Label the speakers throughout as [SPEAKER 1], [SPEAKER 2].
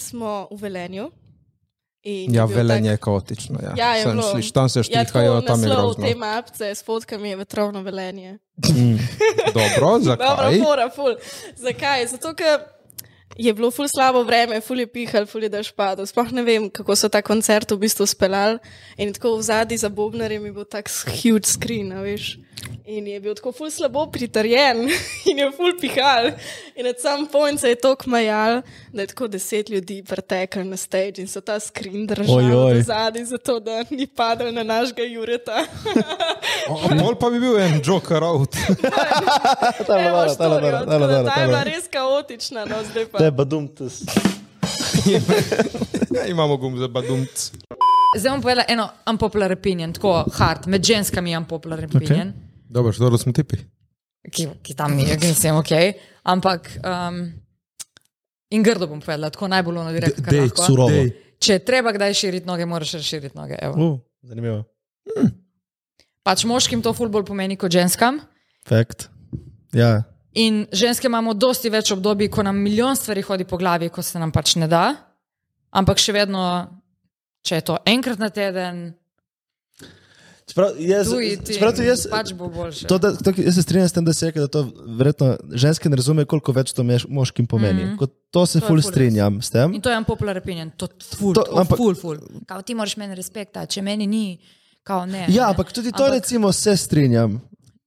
[SPEAKER 1] smo v Velenju. in
[SPEAKER 2] Ja,
[SPEAKER 1] je bil
[SPEAKER 2] velenje
[SPEAKER 1] tak-
[SPEAKER 2] je kaotično. Ja.
[SPEAKER 1] Ja, je
[SPEAKER 2] Sem
[SPEAKER 1] bilo.
[SPEAKER 2] sliš, tam se štrikajo,
[SPEAKER 1] ja,
[SPEAKER 2] tam je
[SPEAKER 1] naslov
[SPEAKER 2] grozno.
[SPEAKER 1] te mapce s fotkami je vetrovno velenje.
[SPEAKER 2] Mm. Dobro, zakaj?
[SPEAKER 1] Dobro, mora, ful. Zakaj? Zato, ker je bilo ful slabo vreme, ful je pihal, ful je daš padal. Sploh ne vem, kako so ta koncert v bistvu speljali. In tako v zadnji za Bobnarjem je bil tak huge screen, a veš. In je bil tako ful slabo pritrjen in je ful pihal. In na sam point se je tok majal, da je tako deset ljudi preteklo na stage in so ta screen
[SPEAKER 3] Oj, oj.
[SPEAKER 1] držali zadnji, zato da ni padel na našega Jureta.
[SPEAKER 2] Pol pa bi bil en joker out.
[SPEAKER 3] Ta
[SPEAKER 1] Evo
[SPEAKER 3] je bila, ta je
[SPEAKER 1] štorijo,
[SPEAKER 3] bila, ta
[SPEAKER 1] tako da
[SPEAKER 3] je bila,
[SPEAKER 1] ta
[SPEAKER 3] ta
[SPEAKER 1] je
[SPEAKER 3] je
[SPEAKER 1] bila
[SPEAKER 3] bila.
[SPEAKER 1] res kaotična, no zdaj pa.
[SPEAKER 3] To je badum tis.
[SPEAKER 2] ja, imamo gum za badumc.
[SPEAKER 4] Zdaj bom povedala eno unpopular opinion, tako hard, med ženskami je unpopular opinion,
[SPEAKER 2] Dobro, še dobro smo tipi.
[SPEAKER 4] okay. ki, ki tam je, ki sem ok. Ampak um, in grdo bom povedala, tako najbolj ono direktno. kar lahko.
[SPEAKER 3] surovo.
[SPEAKER 2] Dej.
[SPEAKER 4] Če je treba kdaj širiti noge, moraš razširiti noge. evo.
[SPEAKER 3] Uh, zanimivo.
[SPEAKER 4] Pač moškim to fulbol pomeni kot ženskam.
[SPEAKER 3] Fakt. Ja.
[SPEAKER 4] In ženske imamo dosti več obdobij, ko nam milijon stvari hodi po glavi, ko se nam pač ne da. Ampak še vedno, če je to enkrat na teden,
[SPEAKER 3] Čeprav jaz,
[SPEAKER 4] tujiti,
[SPEAKER 3] čeprav tudi jaz,
[SPEAKER 4] pač bo boljše.
[SPEAKER 3] To, da, to, jaz se strinjam s tem, da se je, da to verjetno ženske ne razume, koliko več to meš, moškim pomeni. Mm
[SPEAKER 4] Mhm.
[SPEAKER 3] -hmm. Kot to
[SPEAKER 4] To
[SPEAKER 3] se
[SPEAKER 4] je
[SPEAKER 3] ful
[SPEAKER 4] ful res.
[SPEAKER 3] strinjam s tem.
[SPEAKER 4] In to je en popular opinion, to ful,
[SPEAKER 3] To,
[SPEAKER 4] to, to,
[SPEAKER 3] ampak-
[SPEAKER 4] ampak, ful, ful. Kao, ti moraš meni respekta, če meni ni, kao ne. ne.
[SPEAKER 3] Ja, ampak tudi to ampak, recimo se strinjam.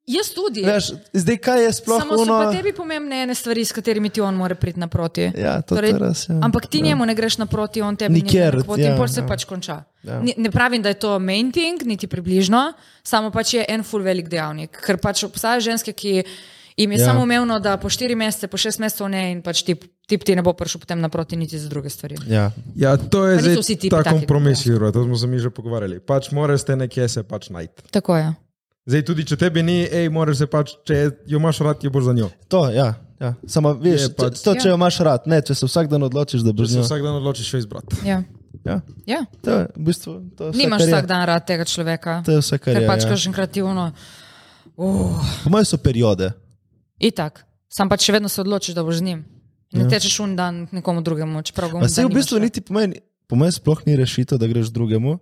[SPEAKER 4] Jaz tudi.
[SPEAKER 3] Veš, zdaj kaj je sploh
[SPEAKER 4] Samo so
[SPEAKER 3] ono?
[SPEAKER 4] pa tebi pomembne ene stvari, s katerimi ti on mora priti naproti.
[SPEAKER 3] Ja, to torej, res, ja.
[SPEAKER 4] Ampak ti ja. njemu ne greš naproti, on tebi
[SPEAKER 3] Nikjer,
[SPEAKER 4] ne gre naproti
[SPEAKER 3] ja,
[SPEAKER 4] in pol se
[SPEAKER 3] ja.
[SPEAKER 4] ja. pač konča.
[SPEAKER 3] Ja.
[SPEAKER 4] Ja. Ne, ne pravim, da je to main thing, niti približno, samo pač je en full velik dejavnik, ker pač obstajajo ženske, ki jim je ja.
[SPEAKER 3] Ja.
[SPEAKER 4] samo umevno, da po štiri mesece, po šest mesecev ne in pač ti, ti, ti ne bo prišel potem naproti niti za druge stvari.
[SPEAKER 3] Ja.
[SPEAKER 2] Ja, to
[SPEAKER 4] Pa
[SPEAKER 2] je
[SPEAKER 4] niso vsi
[SPEAKER 2] zdaj
[SPEAKER 4] tipi
[SPEAKER 2] ta
[SPEAKER 4] taki,
[SPEAKER 2] kompromis,
[SPEAKER 4] ja.
[SPEAKER 2] Jura, to smo se mi že pogovarjali. Pač moraš te nekje se pač najti.
[SPEAKER 4] Tako je.
[SPEAKER 2] Zdaj, tudi če tebi ni, hej, moraš se pač, če jo imaš rad, jo boš za njo.
[SPEAKER 3] To, ja. ja. Samo veš,
[SPEAKER 2] Je
[SPEAKER 3] pa,
[SPEAKER 2] pa-
[SPEAKER 3] to,
[SPEAKER 4] Ja.
[SPEAKER 3] če jo imaš rad, ne, če se vsak dan odločiš, da
[SPEAKER 2] Če
[SPEAKER 3] boš
[SPEAKER 2] se
[SPEAKER 3] njo.
[SPEAKER 2] vsak dan odločiš, jo izbrati.
[SPEAKER 4] Ja.
[SPEAKER 3] Ja,
[SPEAKER 4] Ja.
[SPEAKER 3] to je v bistvu. To je vse,
[SPEAKER 4] Nimaš
[SPEAKER 3] kar je.
[SPEAKER 4] vsak dan rad tega človeka,
[SPEAKER 3] To je vse, kar
[SPEAKER 4] ker
[SPEAKER 3] je.
[SPEAKER 4] pač
[SPEAKER 3] ja.
[SPEAKER 4] kaženkrat ti uno. Uh,
[SPEAKER 3] Po mojem so periode.
[SPEAKER 4] itak, sam pač še vedno se odločiš, da boš z njim. Ne tečeš un dan k nekomu drugemu, čeprav ga
[SPEAKER 3] Pa se Ja. v
[SPEAKER 4] nimaš ja.
[SPEAKER 3] bistvu
[SPEAKER 4] rad.
[SPEAKER 3] niti po meni, po meni sploh ni rešitev, da greš drugemu,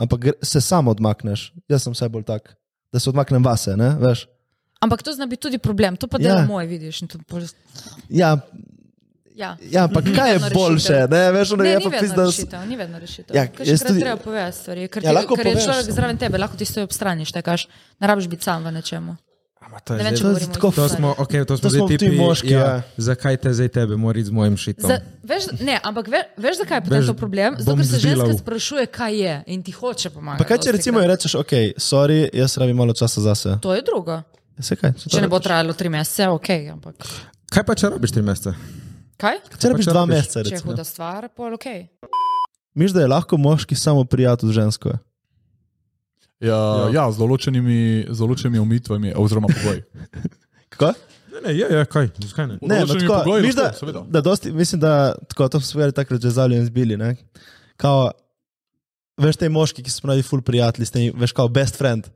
[SPEAKER 3] ampak gre, se sam odmakneš. Jaz sem vse bolj tak, da se odmaknem vase, ne, veš.
[SPEAKER 4] Ampak to zna biti tudi problem, to pa dela
[SPEAKER 3] Ja.
[SPEAKER 4] ja. moj, vidiš. in to pol-
[SPEAKER 3] Ja,
[SPEAKER 4] Ja.
[SPEAKER 3] ja ampak kaj je
[SPEAKER 4] vedno
[SPEAKER 3] boljše,
[SPEAKER 4] rešitev.
[SPEAKER 3] ne, veš, ono
[SPEAKER 4] Ne,
[SPEAKER 3] je
[SPEAKER 4] ni
[SPEAKER 3] pa
[SPEAKER 4] vedno
[SPEAKER 3] pizda.
[SPEAKER 4] rešitev, ni vedno rešitev.
[SPEAKER 3] Ja,
[SPEAKER 4] Ja,
[SPEAKER 3] jaz tudi-
[SPEAKER 4] tudi... Treba povedati stvari, ker,
[SPEAKER 3] Ja,
[SPEAKER 4] ja,
[SPEAKER 3] lahko
[SPEAKER 4] ti, ker je
[SPEAKER 3] poveš,
[SPEAKER 4] človek
[SPEAKER 3] samo.
[SPEAKER 4] zraven tebe, lahko ti stoji ob strani, štekaš, ne rabiš biti sam v nečemu.
[SPEAKER 2] Ama to
[SPEAKER 4] Ne vem, če
[SPEAKER 2] je zdaj.
[SPEAKER 3] To je
[SPEAKER 4] govorimo
[SPEAKER 3] tako
[SPEAKER 4] o
[SPEAKER 2] To
[SPEAKER 4] stvari.
[SPEAKER 2] smo, okay, to smo
[SPEAKER 3] To
[SPEAKER 2] zdaj
[SPEAKER 3] smo ti
[SPEAKER 2] tipi,
[SPEAKER 3] moški, ja.
[SPEAKER 2] Zakaj te zdaj tebe mora iti z mojim šitom?
[SPEAKER 4] Za, veš, ne, ampak ve, veš, zakaj je potem
[SPEAKER 2] Veš,
[SPEAKER 4] to problem? Zato,
[SPEAKER 2] bom
[SPEAKER 4] ker se
[SPEAKER 2] zbilal.
[SPEAKER 4] ženska sprašuje, kaj je in ti hoče pomagati.
[SPEAKER 3] Pa kaj če
[SPEAKER 4] dosti
[SPEAKER 3] recimo
[SPEAKER 4] krat.
[SPEAKER 3] ji rečeš, ok, sorry, jaz rabim malo časa zase.
[SPEAKER 4] To je drugo.
[SPEAKER 3] Ja, saj kaj, saj to
[SPEAKER 4] Če ne bo
[SPEAKER 3] rabiš.
[SPEAKER 4] trajalo tri mesece, ok, ampak
[SPEAKER 2] Kaj pa če rabiš tri mesece?
[SPEAKER 4] kaj?
[SPEAKER 3] Če rabiš
[SPEAKER 2] če
[SPEAKER 3] dva
[SPEAKER 2] rabiš?
[SPEAKER 3] meseca,
[SPEAKER 4] Če je
[SPEAKER 3] recimo.
[SPEAKER 4] huda stvar, pol ok.
[SPEAKER 3] Miš, da je lahko moški samo prijatelj z žensko.
[SPEAKER 5] Ja, ja. ja z določenimi, z določenimi omitvami, oziroma pogoji.
[SPEAKER 3] Kako?
[SPEAKER 2] Ne, ne, ja, ja, kaj, zakaj ne?
[SPEAKER 3] Ne, no,
[SPEAKER 5] Določenimi
[SPEAKER 3] tako,
[SPEAKER 5] pogoji,
[SPEAKER 3] miš, da,
[SPEAKER 5] lahko, seveda.
[SPEAKER 3] da dosti, mislim, da tako, to smo se takrat že zavljeni zbili. Ne? Kao, veš, te moški, ki so pravi ful prijatelji, s temi, veš, kao best friend.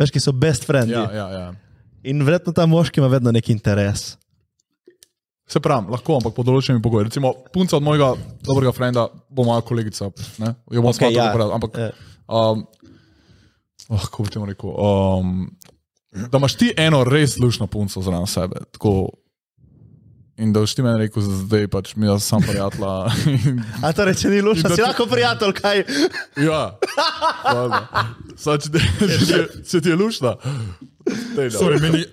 [SPEAKER 3] Veš, ki so best friend.
[SPEAKER 5] Ja, ja, ja.
[SPEAKER 3] In verjetno ta moški ima vedno nek interes.
[SPEAKER 5] Se pravi, lahko, ampak pod določenimi pogoji. Recimo, punca od mojega dobrega frenda bo moja kolegica, ne? jo bom
[SPEAKER 3] Okej,
[SPEAKER 5] okay,
[SPEAKER 3] ja.
[SPEAKER 5] smatral, ja. ampak
[SPEAKER 3] Eh,
[SPEAKER 5] Um, oh, kako bi temu rekel? Um, da imaš ti eno res lušno punco zraven sebe. Tako, in da boš ti meni rekel, zdaj pač mi jaz sam prijatla.
[SPEAKER 3] A torej, če ni
[SPEAKER 5] In
[SPEAKER 3] lušna,
[SPEAKER 5] da
[SPEAKER 3] si
[SPEAKER 5] ti-
[SPEAKER 3] lahko prijatelj, kaj?
[SPEAKER 5] ja, Sad, če, ti, če, ti je- če ti je lušna. Daj, no.
[SPEAKER 2] Sorry, meni,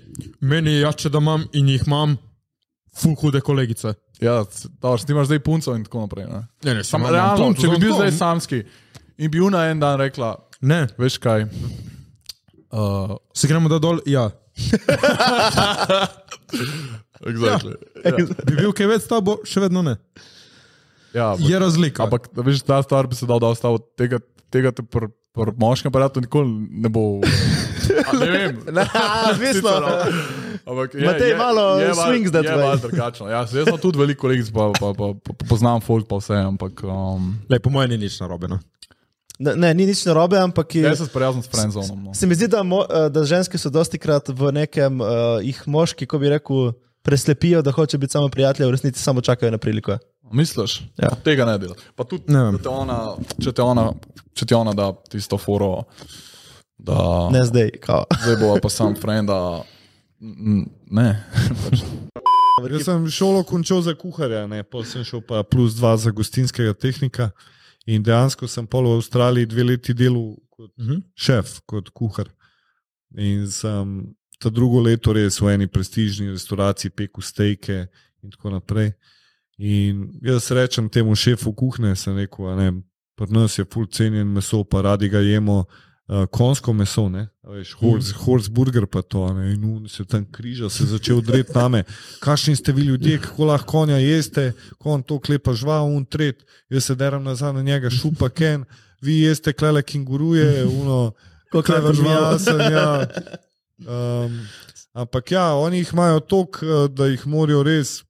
[SPEAKER 2] meni je jače, da imam in jih imam, fu hude kolegice.
[SPEAKER 5] Ja, s- dobro, ti imaš zdaj punco in tako naprej. Ne?
[SPEAKER 3] Ja,
[SPEAKER 2] Ne, ne,
[SPEAKER 5] Sam, realno, če bi bil zdaj samski in bi una en dan rekla,
[SPEAKER 2] Ne,
[SPEAKER 5] veš kaj. Uh,
[SPEAKER 2] se gremo da dol, ja.
[SPEAKER 5] exactly.
[SPEAKER 2] Ja. Bi bil kaj več s tabo, še vedno ne.
[SPEAKER 5] ja, ampak-
[SPEAKER 2] Je razlika.
[SPEAKER 5] Ampak, da veš, ta stvar bi se dal, da ostalo tega, tega te pri pr moškem aparatu nikoli ne bo. A, ne vem.
[SPEAKER 3] Zvisno.
[SPEAKER 5] no. Ampak,
[SPEAKER 3] Matej, malo
[SPEAKER 5] val-
[SPEAKER 3] swings that
[SPEAKER 5] je
[SPEAKER 3] way.
[SPEAKER 5] malo drugačno. Ja, se- jaz sem tudi veliko kolegic, pa, pa, pa, pa, pa poznam folk, pa vse, ampak um,
[SPEAKER 2] Le, po mojem ni nič narobe. No.
[SPEAKER 3] Ne, ne, ni nič narobe, ampak je,
[SPEAKER 5] Ja, jaz sem sprijazen s friendzonom. No.
[SPEAKER 3] se mi zdi, da, mo, eh, da ženske so dosti krat v nekem, eh, uh, jih moški, ko bi rekel, preslepijo, da hoče biti samo prijatelji, v resnici samo čakajo na priliko.
[SPEAKER 5] Misliš?
[SPEAKER 3] Ja.
[SPEAKER 5] Tega ne dela. Pa tudi,
[SPEAKER 2] Ne.
[SPEAKER 5] da te ona, če, te ona, če ti ona da tisto foro, da
[SPEAKER 3] Ne zdaj, kao.
[SPEAKER 5] zdaj bo pa sam frenda. n- Ne. Pač,
[SPEAKER 2] Jaz sem šolo končal za kuharja, ne, pol sem šel pa plus dva za gostinskega tehnika in dejansko sem pol v Avstraliji dve leti delal kot uh -huh. šef, kot kuhar. In sem ta drugo leto res v eni prestižni restauraciji pekel stejke in tako naprej. In jaz rečem temu šefu kuhne, sem rekel, a ne, pri nas je full cenjen meso, pa radi ga jemo. Uh, konsko meso, ne, a veš, horse, horse burger pa to, a ne, in un se tam križa, se je začel dreti name, kakšni ste vi ljudje, kako lahko konja jeste, ko on to klepa žval, un tret, jaz se deram nazaj na njega, šupa ken, vi jeste klele kenguruje, uno,
[SPEAKER 3] Ko klepa
[SPEAKER 2] klepa
[SPEAKER 3] žval.
[SPEAKER 2] žval sem, ja. Um, ampak ja, oni jih imajo tok, eh, da jih morajo res,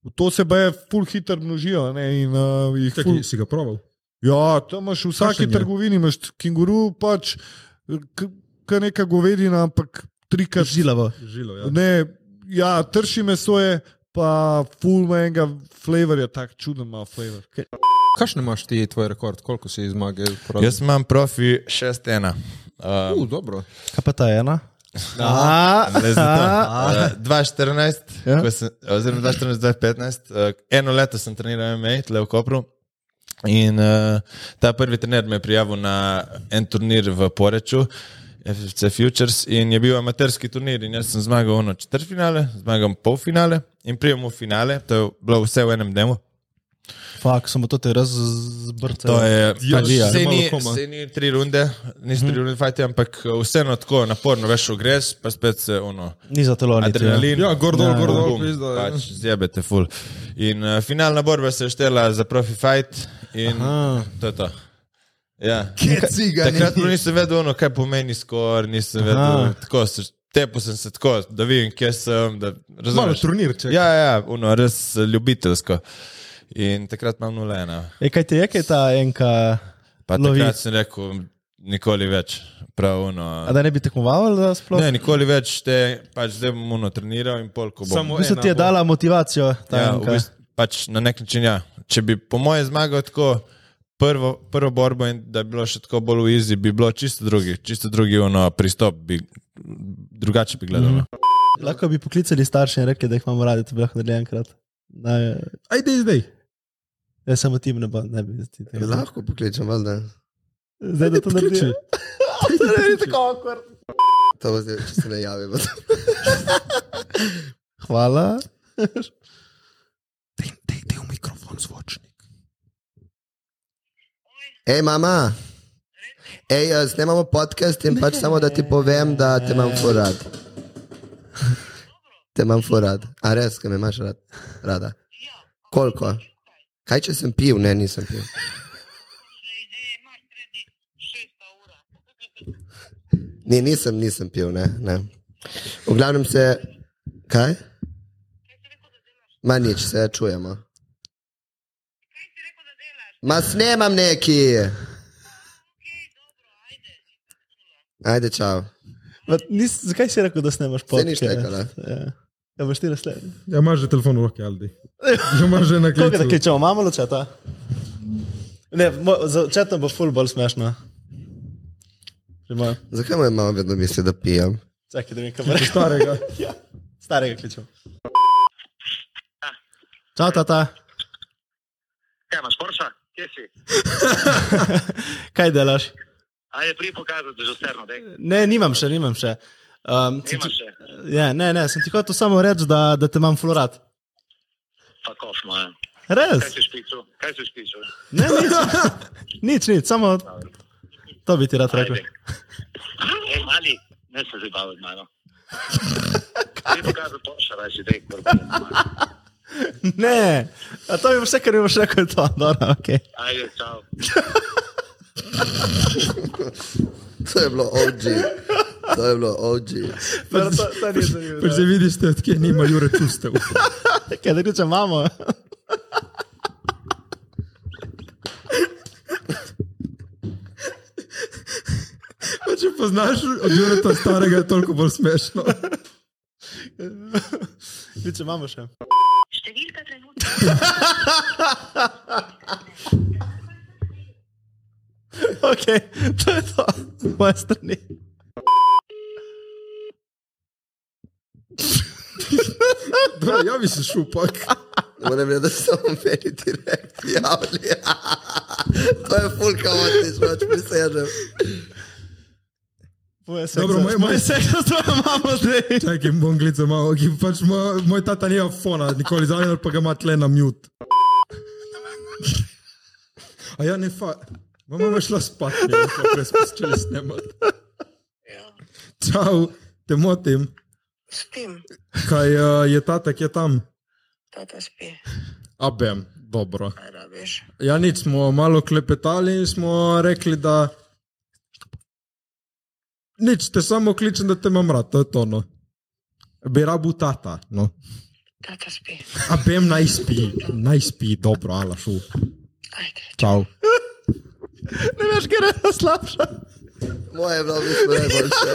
[SPEAKER 2] v to se baje ful hitro množijo, ne, in uh, jih ful...
[SPEAKER 6] Čakaj, si ga proval?
[SPEAKER 2] Ja, tam imaš v vsaki
[SPEAKER 6] Kakšen je?
[SPEAKER 2] trgovini, imaš kenguru, pač, kaj neka govedina, ampak trikrat
[SPEAKER 3] Žilavo.
[SPEAKER 6] Žilo, ja.
[SPEAKER 2] Ne, ja, trši meso je, pa full enega flavorja, tako čuden ima flavor.
[SPEAKER 6] Kakšen imaš ti tvoj rekord, koliko si zmage?
[SPEAKER 7] Jaz imam profi 6-1.
[SPEAKER 6] sem.
[SPEAKER 7] Uh,
[SPEAKER 6] Uh, dobro.
[SPEAKER 3] Kaj pa ta ena? Ah, Aha.
[SPEAKER 7] Uh, 2014,
[SPEAKER 3] Ja.
[SPEAKER 7] ko sem, oziroma 2014-2015, uh, eno leto sem treniral MMA, tle v Kopru. In uh, ta prvi trener me je prijavil na en turnir v Poreču, FC Futures, in je bil amaterski turnir. In jaz sem zmagal ono četrtfinale, zmagal polfinale in prijem v finale, to je bilo vse v enem dnevu.
[SPEAKER 3] Fak, samo to te razbrca.
[SPEAKER 7] To je pač
[SPEAKER 3] ja.
[SPEAKER 7] saj ni-
[SPEAKER 2] Malo koma.
[SPEAKER 7] saj ni tri runde, niso tri runde fajti, ampak eh, vseeno tako naporno, veš, greš, pa spet se ono.
[SPEAKER 3] Ni za telo, ni
[SPEAKER 7] Adrenalin.
[SPEAKER 6] Ja, gor dol,
[SPEAKER 7] Ja,
[SPEAKER 6] gor dol,
[SPEAKER 7] bum,
[SPEAKER 6] pizda, ja.
[SPEAKER 7] Pač zjebete, ful. In uh, finalna borba se je štela za profi fight in Aha. to je to. Ja. Takrat pa nisem vedel, ono, kaj pomeni skor, nisem Aha.
[SPEAKER 3] Aha.
[SPEAKER 7] vedel. Tako, se, tepo sem se tako, da vidim, kje sem. Da,
[SPEAKER 6] Malo
[SPEAKER 7] razumeš?
[SPEAKER 6] turnir, če.
[SPEAKER 7] Ja, ja, ono, res eh, ljubiteljsko. In takrat imam 0-1.
[SPEAKER 3] E, kaj ti je, kaj ta enka?
[SPEAKER 7] Pa
[SPEAKER 3] Lovi.
[SPEAKER 7] takrat sem rekel, nikoli več. Prav, ono.
[SPEAKER 3] A da ne bi tekmoval, da sploh?
[SPEAKER 7] Ne, nikoli več te, pač zdaj bom ono treniral in pol, ko bom.
[SPEAKER 6] Samo
[SPEAKER 3] v bistvu ti je dala motivacijo. ta
[SPEAKER 7] Ja,
[SPEAKER 3] enka.
[SPEAKER 7] v bistvu, pač na nek način ja. Če bi po mojem zmagal tako prvo, prvo borbo in da bi bilo še tako bolj v izi, bi bilo čisto drugi, čisto drugi ono, pristop, bi, drugače bi gledal. Mm -hmm.
[SPEAKER 3] Lahko bi poklicali starše in rekli, da jih imamo radi, to bi lahko naredili enkrat. Ne,
[SPEAKER 6] Ajde, zdaj.
[SPEAKER 3] ne samo tim, ne, bo, ne bi ti tega.
[SPEAKER 8] Lahko pokličem, ali ne?
[SPEAKER 3] Zdaj, da to narediš.
[SPEAKER 8] To bo zdaj, če se ne javi. bo to.
[SPEAKER 3] Hvala.
[SPEAKER 6] Dej v mikrofon zvočnik.
[SPEAKER 8] Ej, mama. Ej, eh, snemamo podcast in pač samo da ti povem, da te imam furad. Te imam furad. A res, kaj me imaš rad? rada? Koliko? Kaj če sem pil? Ne, nisem pil. Ne, nisem, nisem pil, ne, ne. V glavnem se. Kaj? Ma nič, se čujemo. Ma snemam neki. Ajde, čau.
[SPEAKER 3] Ma, nis, zakaj si rekel, da snemaš
[SPEAKER 8] Saj nič
[SPEAKER 3] podcast?
[SPEAKER 8] nekala.
[SPEAKER 3] Ja. ja, boš ti naslednji.
[SPEAKER 6] Ja, imaš že telefon v roki, Aldi. Že imaš že na
[SPEAKER 3] Koga da
[SPEAKER 6] klicu.
[SPEAKER 3] kličemo, imamo ločeta? Ne, mo- za četom bo ful bolj smešno. Že moja.
[SPEAKER 8] Zakaj moja mama vedno misli, da pijem?
[SPEAKER 3] Čakaj, da mi kamera. Ja,
[SPEAKER 6] Starega.
[SPEAKER 3] Starega kličemo. Čau, tata.
[SPEAKER 9] Kaj Ja, imaš, Porsche? Kje si?
[SPEAKER 3] Kaj delaš?
[SPEAKER 9] A je pri pokazati, da že sterno, da
[SPEAKER 3] Ne, nimam še, nimam še. Um, sem
[SPEAKER 9] imaš
[SPEAKER 3] ti,
[SPEAKER 9] še.
[SPEAKER 3] ja, ne, ne, sem ti hotel samo reči, da, da te imam florat.
[SPEAKER 9] Pa kof, moja. Kaj
[SPEAKER 3] Res?
[SPEAKER 9] si špicu? Kaj si špicu?
[SPEAKER 3] Ne, nič. nič, nič, samo to bi ti rad rekel.
[SPEAKER 9] Ajde. Ej, mali, ne se zabavati, mano. Ti pokazati Porsche, da si dek.
[SPEAKER 3] Ne, a to bi vse, kar bi boš rekel, je to. Dobro, okay.
[SPEAKER 9] Ajde, čau.
[SPEAKER 8] To je bilo OG. To je bilo OG.
[SPEAKER 3] Dobro, to, to ni zanimivo.
[SPEAKER 6] Pač zdaj vidiš, da odkje nima Jure čustev.
[SPEAKER 3] Kaj da kličem mamo?
[SPEAKER 6] Pa če poznaš od Jure ta starega, je toliko bolj smešno.
[SPEAKER 3] Kličem mamo še.
[SPEAKER 10] Številka trenutno
[SPEAKER 3] ok, to je to, z moje strani.
[SPEAKER 6] Bra, ja bi se šupak.
[SPEAKER 8] Moram reči, da so meni direkt javili. to je ful kaotično, pač prisežem.
[SPEAKER 3] Moje seksa,
[SPEAKER 6] Dobro, moj- moj-
[SPEAKER 3] moje seksa s tvojo mamo zdaj.
[SPEAKER 6] Čakaj, bom glical malo, ki pač moj, moj tata nima fona, nikoli zadnji, pa ga ima tle na mute. A ja ne fa... Moja mama je šla spat, ne pa prej smo začeli snemati. Čau, te motim.
[SPEAKER 10] Spim,
[SPEAKER 6] Kaj uh, je tata, ki je tam?
[SPEAKER 10] tata spi,
[SPEAKER 6] Abem, dobro.
[SPEAKER 10] kaj rabiš.
[SPEAKER 6] Ja, nič smo malo klepetali in smo rekli, da. Nič, te samo kličem, da te imam rad, to no. je tono. Bi rabu tata, no.
[SPEAKER 10] Tata spi,
[SPEAKER 6] A bem naj spi, naj spi, dobro, ala šu.
[SPEAKER 10] ajde.
[SPEAKER 6] Čau.
[SPEAKER 3] Ne veš, kaj je slabša.
[SPEAKER 8] Moje je bilo v bistvu najboljše.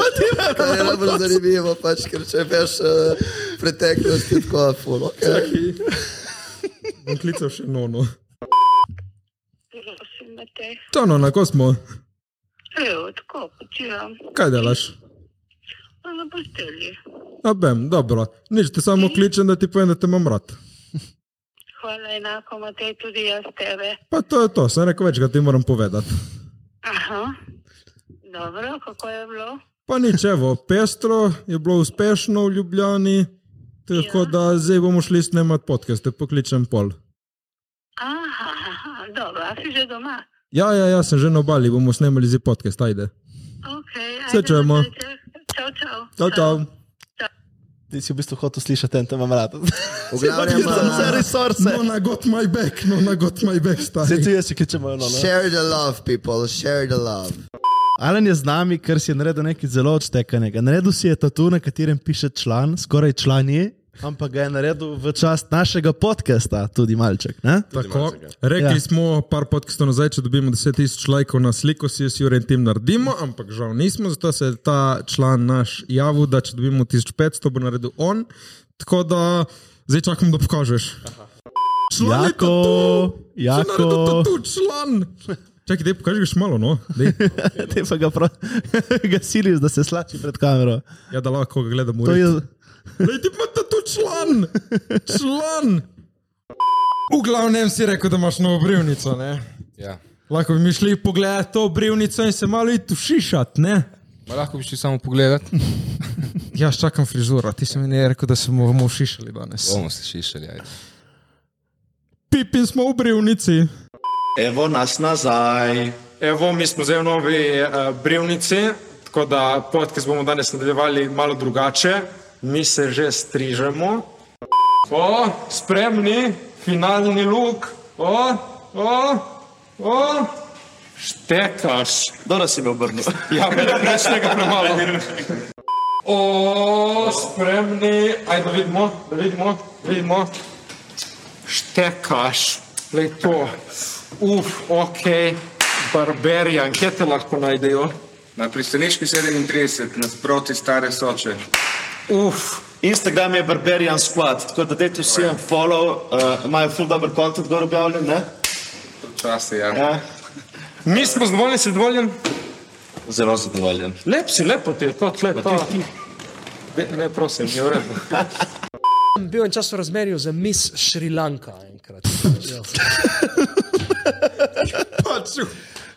[SPEAKER 8] To je najbolj zanimivo, pač, ker če veš eh, preteklost, je tako ful. Okay.
[SPEAKER 6] Bom klical še nono.
[SPEAKER 10] Prosim, da te.
[SPEAKER 6] Tono, na ko smo?
[SPEAKER 10] Evo, tako, potiram.
[SPEAKER 6] Kaj delaš?
[SPEAKER 10] Na Hm? bastelji.
[SPEAKER 6] A bem, dobro. Nič, te samo kličem, da ti povem, da te imam rad.
[SPEAKER 10] Hvala enako, Matej, tudi jaz tebe.
[SPEAKER 6] Pa to je to, sem rekel več, ga ti moram povedati.
[SPEAKER 10] Aha. Dobro, kako je bilo?
[SPEAKER 6] Pa nič, evo, pestro je bilo uspešno v Ljubljani, tako ja. da zdaj bomo šli snemati podcaste, pokličem pol.
[SPEAKER 10] Aha, aha, dobro, a si že doma?
[SPEAKER 6] Ja, ja, ja, sem že na obali, bomo snemali zdaj podcast, ajde.
[SPEAKER 10] Ok, ajde.
[SPEAKER 6] Se čujemo.
[SPEAKER 10] Matej. Čau, čau.
[SPEAKER 6] Čau, čau.
[SPEAKER 3] Ti si v bistvu hotel slišati, ten te imam rad.
[SPEAKER 8] V glavnem,
[SPEAKER 3] Ti sem vse
[SPEAKER 8] eh,
[SPEAKER 3] resurse.
[SPEAKER 6] No, na got my back, no, na got my back,
[SPEAKER 3] Vse ti
[SPEAKER 6] stari.
[SPEAKER 3] jesi, ki če imajo no, nono.
[SPEAKER 8] share the love, people, share the love.
[SPEAKER 3] Alan je z nami, ker si je naredil nekaj zelo odštekanega. Naredil si je tatu, na katerem piše član, skoraj član je, ampak ga je naredil v čast našega podcasta, tudi malček. Ne?
[SPEAKER 6] Tako, rekli ja.
[SPEAKER 3] Ja.
[SPEAKER 6] smo par podcastov nazaj, če dobimo 10.000 lajkov na sliko, si jo s Jurem tem naredimo, ampak žal nismo, zato se je ta član naš javil, da če dobimo 1500, bo naredil on. Tako da zdaj čakam, da pokažeš. Član je
[SPEAKER 3] Jako,
[SPEAKER 6] Jako... Naredil
[SPEAKER 3] jako,
[SPEAKER 6] tatu član. Čakaj, dej, pokaži ga še malo, no. Dej.
[SPEAKER 3] te pa ga, pro, ga siliš, da se slači pred kamero.
[SPEAKER 6] Ja, da lahko ga gledamo.
[SPEAKER 3] To je,
[SPEAKER 6] Lej, ti pa tatu član. Član. V glavnem si rekel, da imaš novo brivnico, ne?
[SPEAKER 11] Ja.
[SPEAKER 6] Lahko bi mi šli pogledati to brivnico in se malo i tušišati, ne?
[SPEAKER 11] Ma lahko bi šli samo pogledat.
[SPEAKER 6] Ja, čakam frizuro, ti si mi ne rekel, da se bomo ušišali danes.
[SPEAKER 11] Bomo se šišali. Ajde.
[SPEAKER 6] Pipin smo v brivnici.
[SPEAKER 12] Evo nas nazaj. Evo, mi smo zdaj v novi uh, Brivnici, tako da podcast bomo danes nadaljevali malo drugače. Mi se že strižemo. O, spremni, finalni luk, o, o, o. Štekaš. Dobro si me obrnil. Ja, bilo je prejšnjega premalo. O, spremni, ajde vidimo, da vidimo, vidimo. Štekaš, le to. Uf, ok, barbarijan, kje te lahko najdejo?
[SPEAKER 11] Na pristaniški 37, nasproti stare soče.
[SPEAKER 12] Uf,
[SPEAKER 13] Instagram je Barbarian Squad, tako da dajte vsi en follow, uh, imajo full dobro kontent gor objavljen, ne?
[SPEAKER 11] Počasi, ja. ja.
[SPEAKER 13] Ja,
[SPEAKER 12] mi smo zadovoljni, si zadovoljen?
[SPEAKER 13] zelo zadovoljen.
[SPEAKER 12] Lep si, lepo ti je to, tle, to. Ne, ne, prosim, je v redu.
[SPEAKER 14] Bil je čas v razmerju za Miss Šrilanka enkrat. Ja.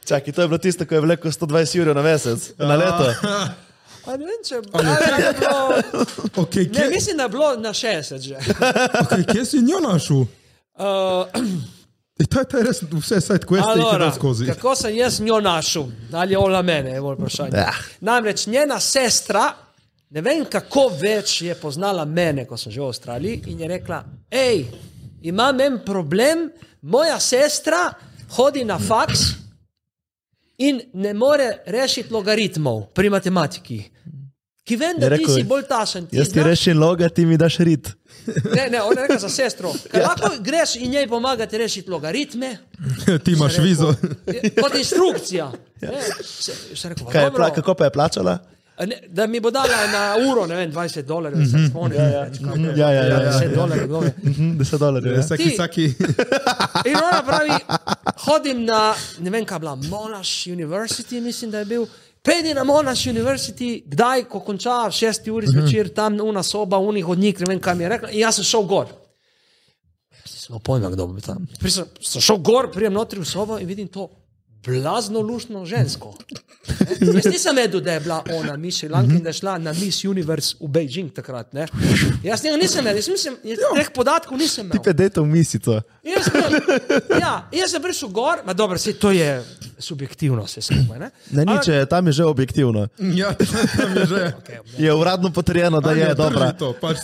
[SPEAKER 3] čakaj, to je bilo tisto, ko je vleko 120 ur na mesec, na leto.
[SPEAKER 14] A Ne vem, če ali je bilo.
[SPEAKER 6] Okay,
[SPEAKER 14] Ne,
[SPEAKER 6] kje,
[SPEAKER 14] mislim, da je bilo na 60 že.
[SPEAKER 6] okay, kje si njo našel?
[SPEAKER 14] Uh,
[SPEAKER 6] E, ta, ta je res, vse je sajt, ko jaz tega ne skozi.
[SPEAKER 14] kako sem jaz njo našel, ali je ona mene, je bolj vprašanje.
[SPEAKER 3] Ja.
[SPEAKER 14] Namreč njena sestra, ne vem kako več, je poznala mene, ko sem že v Avstraliji in je rekla: Hej, imam en problem, moja sestra hodi na faks in ne more rešiti logaritmov pri matematiki. Ki vem, da
[SPEAKER 3] Je
[SPEAKER 14] ti
[SPEAKER 3] rekel,
[SPEAKER 14] si bolj tašen. ti
[SPEAKER 3] Jaz ti
[SPEAKER 14] znaš-
[SPEAKER 3] rešim loga, ti mi daš rit.
[SPEAKER 14] Ne, ne, ona je rekla za sestro. Ker lahko greš in njej pomagati rešiti logaritme,
[SPEAKER 6] Ti imaš vizo. Ja.
[SPEAKER 14] je- kot instrukcija. Ne, se- sem rekel,
[SPEAKER 3] Kaj je
[SPEAKER 14] "Dobro."
[SPEAKER 3] pla, kako pa je plačala?
[SPEAKER 14] A Ne, da mi bo dala na uro, ne vem, 20 dolarjev,
[SPEAKER 6] Mhm.
[SPEAKER 14] mm -hmm. se spomnim. Ja, ja,
[SPEAKER 3] Ja, ja, ja. ja,
[SPEAKER 14] 10
[SPEAKER 3] ja.
[SPEAKER 14] dolarjev. kdo ve.
[SPEAKER 3] Mhm, 10 dolarjev. Ja.
[SPEAKER 6] Vsaki,
[SPEAKER 14] Ti-
[SPEAKER 6] vsaki.
[SPEAKER 14] In ona pravi, hodim na, ne vem, kaj je bila, Monash University, mislim, da je bil. Pejdi na Monash University, kdaj, ko konča 6 uri zvečer, tam una soba, uni hodnik, ne vem, kaj mi je rekla. In jaz sem šel gor. Ja, Smo pojma, kdo bo tam. Prisem, sem šel gor, prijem notri v sobo in vidim to blazno lušno žensko. Ne? Jaz nisem vedel, da je bila ona Miss Šrilanka in da je šla na Miss Universe v Beijing takrat. Ne? Jaz njega nisem vedel, jaz mislim, jaz teh podatkov nisem imel.
[SPEAKER 3] Tipe, dej to misico.
[SPEAKER 14] In Jaz, sem- ja, in jaz sem prišel gor, ma dobro, saj to je subjektivno vse skupaj. Ne?
[SPEAKER 3] Ne, nič, je, tam je že objektivno.
[SPEAKER 14] Ja, tam je že.
[SPEAKER 3] Je uradno potrjeno, da je dobra.
[SPEAKER 6] pač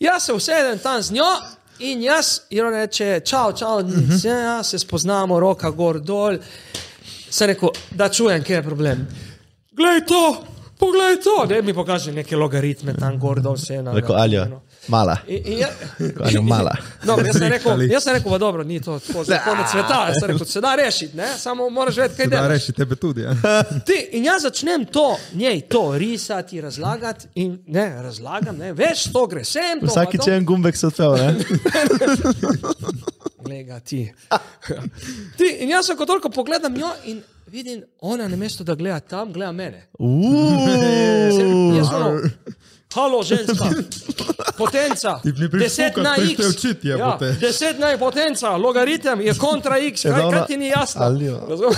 [SPEAKER 14] Jaz se usedem tam z njo in jaz ji reče, čau, čau,
[SPEAKER 3] Mhm.
[SPEAKER 14] nič, ja, se spoznamo, roka gor dol. Sem rekel, da čujem, kje je problem. Glej to, poglej to, da mi pokaže neke logaritme tam gor dol. Vse, na,
[SPEAKER 3] Rekel Aljo, mala.
[SPEAKER 14] In, in ja,
[SPEAKER 3] Rekel, Aljo, mala.
[SPEAKER 14] no, jaz sem rekel, jaz sem rekel, "Ma dobro, ni to tako za konec sveta, jaz sem rekel, se da rešiti, ne? samo moraš vedeti, kaj
[SPEAKER 6] Da
[SPEAKER 14] delaš.
[SPEAKER 6] reši tebe tudi. Ja.
[SPEAKER 14] Ti, in jaz začnem to, njej to risati, razlagati in ne razlagam, ne, veš, to gre sem. To,
[SPEAKER 3] Vsaki
[SPEAKER 14] pa to.
[SPEAKER 3] če en gumbek se odpel, ne?
[SPEAKER 14] Glej ga ti. ti. In jaz lahko toliko pogledam njo in vidim, ona na mestu, da gleda tam, gleda mene.
[SPEAKER 3] Uuuu.
[SPEAKER 14] Jaz ono, Halo, ženska, potenca.
[SPEAKER 3] Ti ne prideš
[SPEAKER 14] Deset
[SPEAKER 3] fukat,
[SPEAKER 14] na
[SPEAKER 3] prideš
[SPEAKER 14] x.
[SPEAKER 3] te učit, jebote.
[SPEAKER 14] Ja, deset na potenca, logaritem je kontra x,
[SPEAKER 3] Je
[SPEAKER 14] kaj,
[SPEAKER 3] dobro.
[SPEAKER 14] kaj ti ni jasno.
[SPEAKER 3] Alijo.
[SPEAKER 14] Razumeš?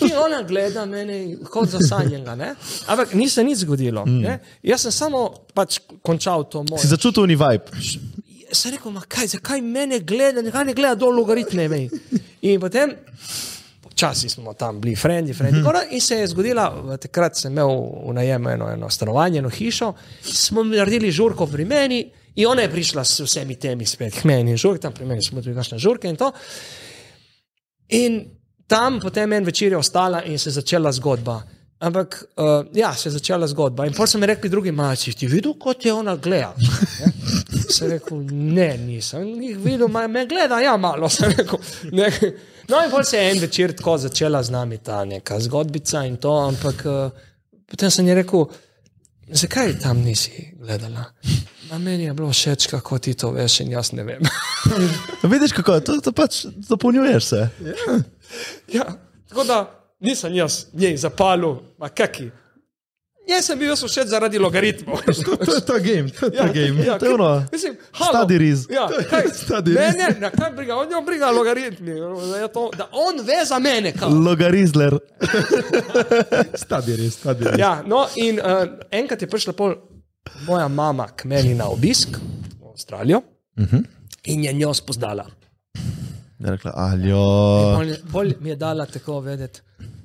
[SPEAKER 14] In ona gleda mene kot zasanjenega, ne? ampak ni se nič zgodilo.
[SPEAKER 3] Mm.
[SPEAKER 14] Mm. Jaz sem samo pač končal to moje.
[SPEAKER 3] Si začutil ni vibe.
[SPEAKER 14] Sem rekel, ma kaj, zakaj mene gleda, zakaj ne gleda dol logaritme. Mej. In potem, počasi smo tam bili, frendi, frendi. Gora, in se je zgodila, v- takrat sem imel v najemu eno, eno stanovanje, eno hišo, smo naredili žurko pri meni in ona je prišla s vsemi temi spet k meni, žurk, tam pri meni smo tudi kakšne žurke in to. In tam potem en večer je ostala in se je začela zgodba. Ampak, uh, ja, se je začela zgodba. In potem so mi rekli drugi malci, ti videl, kot je ona gleda. Sem rekel, ne, nisem jih videl, ma, me gleda, ja, malo. sem rekel. Ne. No, in potem se je en večer tako začela z nami ta neka zgodbica in to, ampak uh, potem sem ji rekel, zakaj tam nisi gledala? A meni je bilo všeč, kako ti to veš, in jaz ne vem.
[SPEAKER 3] Vidiš, kako je, to, to pač zapolnjuješ se.
[SPEAKER 14] Ja, tako da nisem jaz njej zapalil, a kaki. Jaz sem bil jaz všeč zaradi logaritmov.
[SPEAKER 6] To je e, ta game, to je ta game.
[SPEAKER 14] ja,
[SPEAKER 3] To je ono,
[SPEAKER 14] Mislim,
[SPEAKER 3] study res.
[SPEAKER 14] Ja, kaj,
[SPEAKER 6] Study
[SPEAKER 14] ne,
[SPEAKER 6] res.
[SPEAKER 14] ne, na kaj briga, on jo briga logaritmi. Da, je to, da on ve za mene. Kao.
[SPEAKER 3] Logarizler.
[SPEAKER 6] Stadi res, stadi res.
[SPEAKER 14] Ja, no, in uh, enkrat je prišla pol moja mama k meni na obisk v Avstralijo
[SPEAKER 3] Mhm.
[SPEAKER 14] in je njo spoznala.
[SPEAKER 3] Je Ja, rekla, aljo.
[SPEAKER 14] Pol, je- pol mi je dala tako vedeti.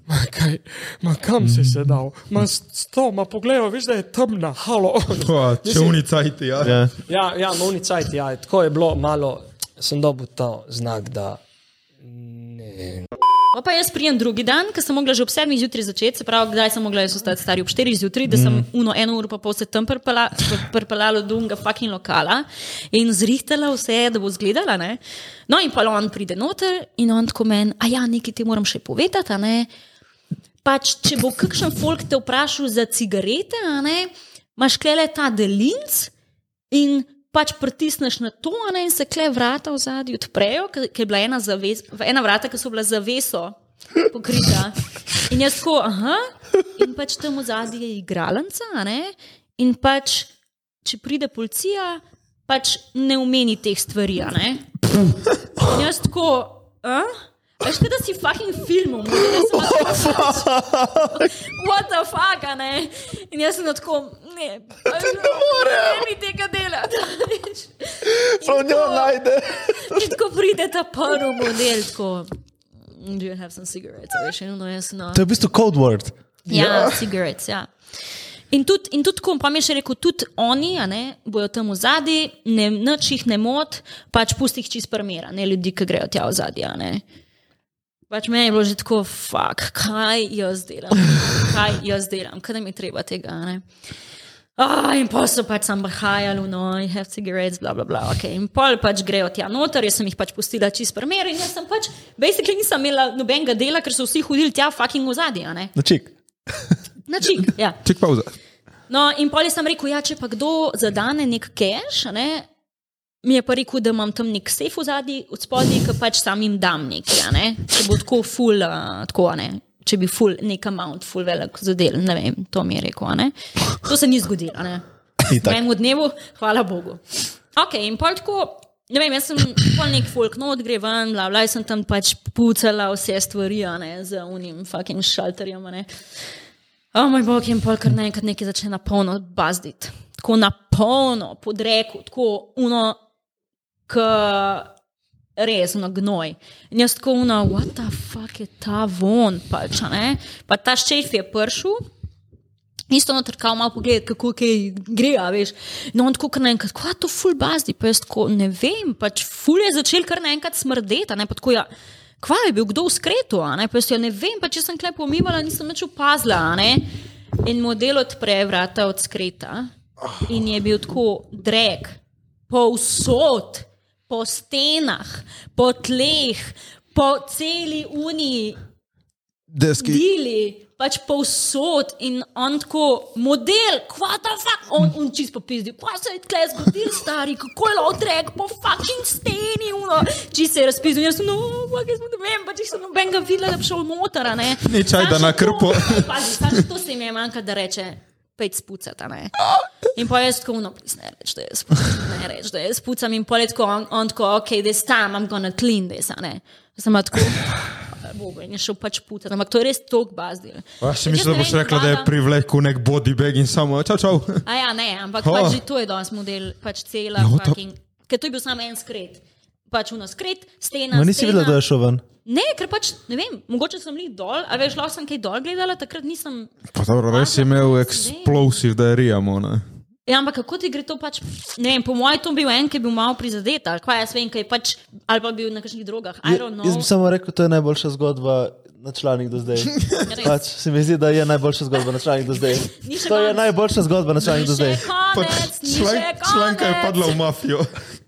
[SPEAKER 14] Ma, kaj, ma kam si
[SPEAKER 3] Mm.
[SPEAKER 14] se dal? Ma s s to, ma poglej, veš, da je temna, halo.
[SPEAKER 6] Pa, Če
[SPEAKER 14] Mislim-
[SPEAKER 6] unicajti, ja.
[SPEAKER 3] Ja.
[SPEAKER 14] Ja, ja unicajt, ja, tako je bilo malo, sem dobil ta znak, da ne.
[SPEAKER 15] Pa pa jaz prijem drugi dan, ker sem mogla že ob 7 zjutraj začeti, se pravi, kdaj sem mogla jaz ostati stari ob 4 zjutraj, da sem
[SPEAKER 16] Mm.
[SPEAKER 15] uno, eno uro pa pol se tam prpela- pr- prpeljala do unga fucking lokala in zrihtala vse, da bo zgledala. Ne? No in pa on pride noter in on tako meni, a ja, nekaj ti moram še povedati, a ne. Pač, če bo kakšen folk te vprašal za cigarete, a ne, imaš klele ta delinc in pač pritisneš na to, a ne, in se kle vrata v zadju odprejo, ker ker je bila ena, zaves, ena vrata, ki so bila zaveso pokrita. In jaz tako, aha, in pač tam v zadju je igralnica, a ne, in pač, če pride policija, pač ne omeni teh stvari, a ne. In jaz tako, a? Veš, kaj, da si fucking filmom, da si what the fuck, a ne. In jaz sem tako, ne, ne morem. Ne mi tega delati. Prav njo najde. In tako pride ta prvi model, tako, do you have some cigarettes, A veš, in no, jaz no.
[SPEAKER 3] To je v bistvu code word.
[SPEAKER 15] Ja, cigaret. Ja. In tudi, in tudi kom, pa mi je še rekel, tudi oni a ne, bojo tam v zadnji, noč jih ne mot, pač pusti jih čist premjera, ne ljudi, ki grejo tja v zadnji. Pač meni je bilo že tako, fuck, kaj jaz delam, kaj jaz delam, kaj mi je treba tega. a Ne? Ah, in pol so pač sam bahajali, no, I have cigarettes, bla, bla, bla. Okay. In pol pač grejo tja noter, jaz sem jih pač pustila čist premjera in jaz sem pač, basically nisem imela nobenega dela, ker so vsi hodili tja fucking v zadnji, a ne.
[SPEAKER 3] Na čik.
[SPEAKER 15] Na čik, ja.
[SPEAKER 6] Ček pauza.
[SPEAKER 15] No, in pol sem rekel, ja, če pa kdo zadane nek cache, a ne, mi je pa rekel, da imam tam nek sejf v zadnji, od spodaj, ki pač sam jim dam nekaj, a ne? če bo tako full, uh, tako a ne. Če bi full, nek amount, full velik zadel, ne vem, to mi je rekel. a Ne? To se ni zgodilo, a ne.
[SPEAKER 3] Itak.
[SPEAKER 15] Na enem dnevu, hvala Bogu. Ok, in pol tako, ne vem, jaz sem pol nek folk not, gre ven, bla, bla, jaz sem tam pač pucala vse stvari, a ne, z unim fucking šalterjem, a ne. O moj bog, in pol kar naenkrat nekaj začne na polno bazditi. Tako na polno, podreku, tako uno, k resno gnoj. In jaz tako uno, what the fuck je ta von, pač, a ne. Pa ta šef je pršel. Isto noter, kao malo pogled, kako kaj gre, a veš. No, on tako kar naenkrat, kva to ful bazdi, pa jaz tako, ne vem, pač ful je začel kar naenkrat smrdeti, a ne pa tako ja. Kva je bil kdo v skretu, a ne pa jaz, ja ne vem, pa če sem klep umivala, nisem več opazila, a ne. In model odpre vrata od skreta in je bil tako drek, povsod, po stenah, po tleh, po celi uniji,
[SPEAKER 3] Deski.
[SPEAKER 15] dili, pač povsod in on tako, model, kvata, fuck, on, on čist popizdi, pa se je tle zgodil, stari, kako je odrek po fucking steni, uno, čist se je razpizdil, jaz sem, no, fuck, jaz ne vem, pač jaz sem nobenega videla, da bi šel motor, a ne.
[SPEAKER 3] Ni čaj, da na krpo.
[SPEAKER 15] Pazi, pač to se jim je manjka, da reče. Pejt spucati, a ne. In pa jaz tako, no, please, ne reč, da jaz spucam, ne reč, da jaz spucam. In pa je tako, on, on tako, ok, this time I'm gonna clean this, a ne. Sem tako, bogo, in je šel pač pucati, ampak to je res tok bazdil.
[SPEAKER 6] Ja, si mislil, da boš rekla, da je privlekel nek body bag in samo, čau, čau.
[SPEAKER 15] A ja, ne, ampak
[SPEAKER 6] Ha.
[SPEAKER 15] pač že to je danes model, pač cela,
[SPEAKER 6] Jo,
[SPEAKER 15] no,
[SPEAKER 6] ta-
[SPEAKER 15] fucking, ker to je bil samo en skret. Pač uno skret, stena.
[SPEAKER 3] Ma nisi
[SPEAKER 15] stena.
[SPEAKER 3] videla, da je šel ven.
[SPEAKER 15] Ne, ker pač, ne vem, mogoče sem li dol, a veš, lahko sem kaj dol gledala, takrat nisem.
[SPEAKER 6] Pa dobro, res je imel explosive diarija, mona.
[SPEAKER 15] Ja, ampak kako ti gre to pač, ne vem, po mojem to bil en, ki je bil malo prizadet, ali kaj jaz vem, kaj je pač, ali pa bil na kakšnih drogah, I don't know.
[SPEAKER 3] Jaz bi samo rekel, to je najboljša zgodba na članek do zdaj. Pač se mi zdi, da je najboljša zgodba na članek do zdaj.
[SPEAKER 15] Ni še
[SPEAKER 3] To je
[SPEAKER 15] konec. dus
[SPEAKER 3] najboljša zgodba na članek do zdaj.
[SPEAKER 15] Konec, ni še konec.
[SPEAKER 6] članka je padla v mafijo.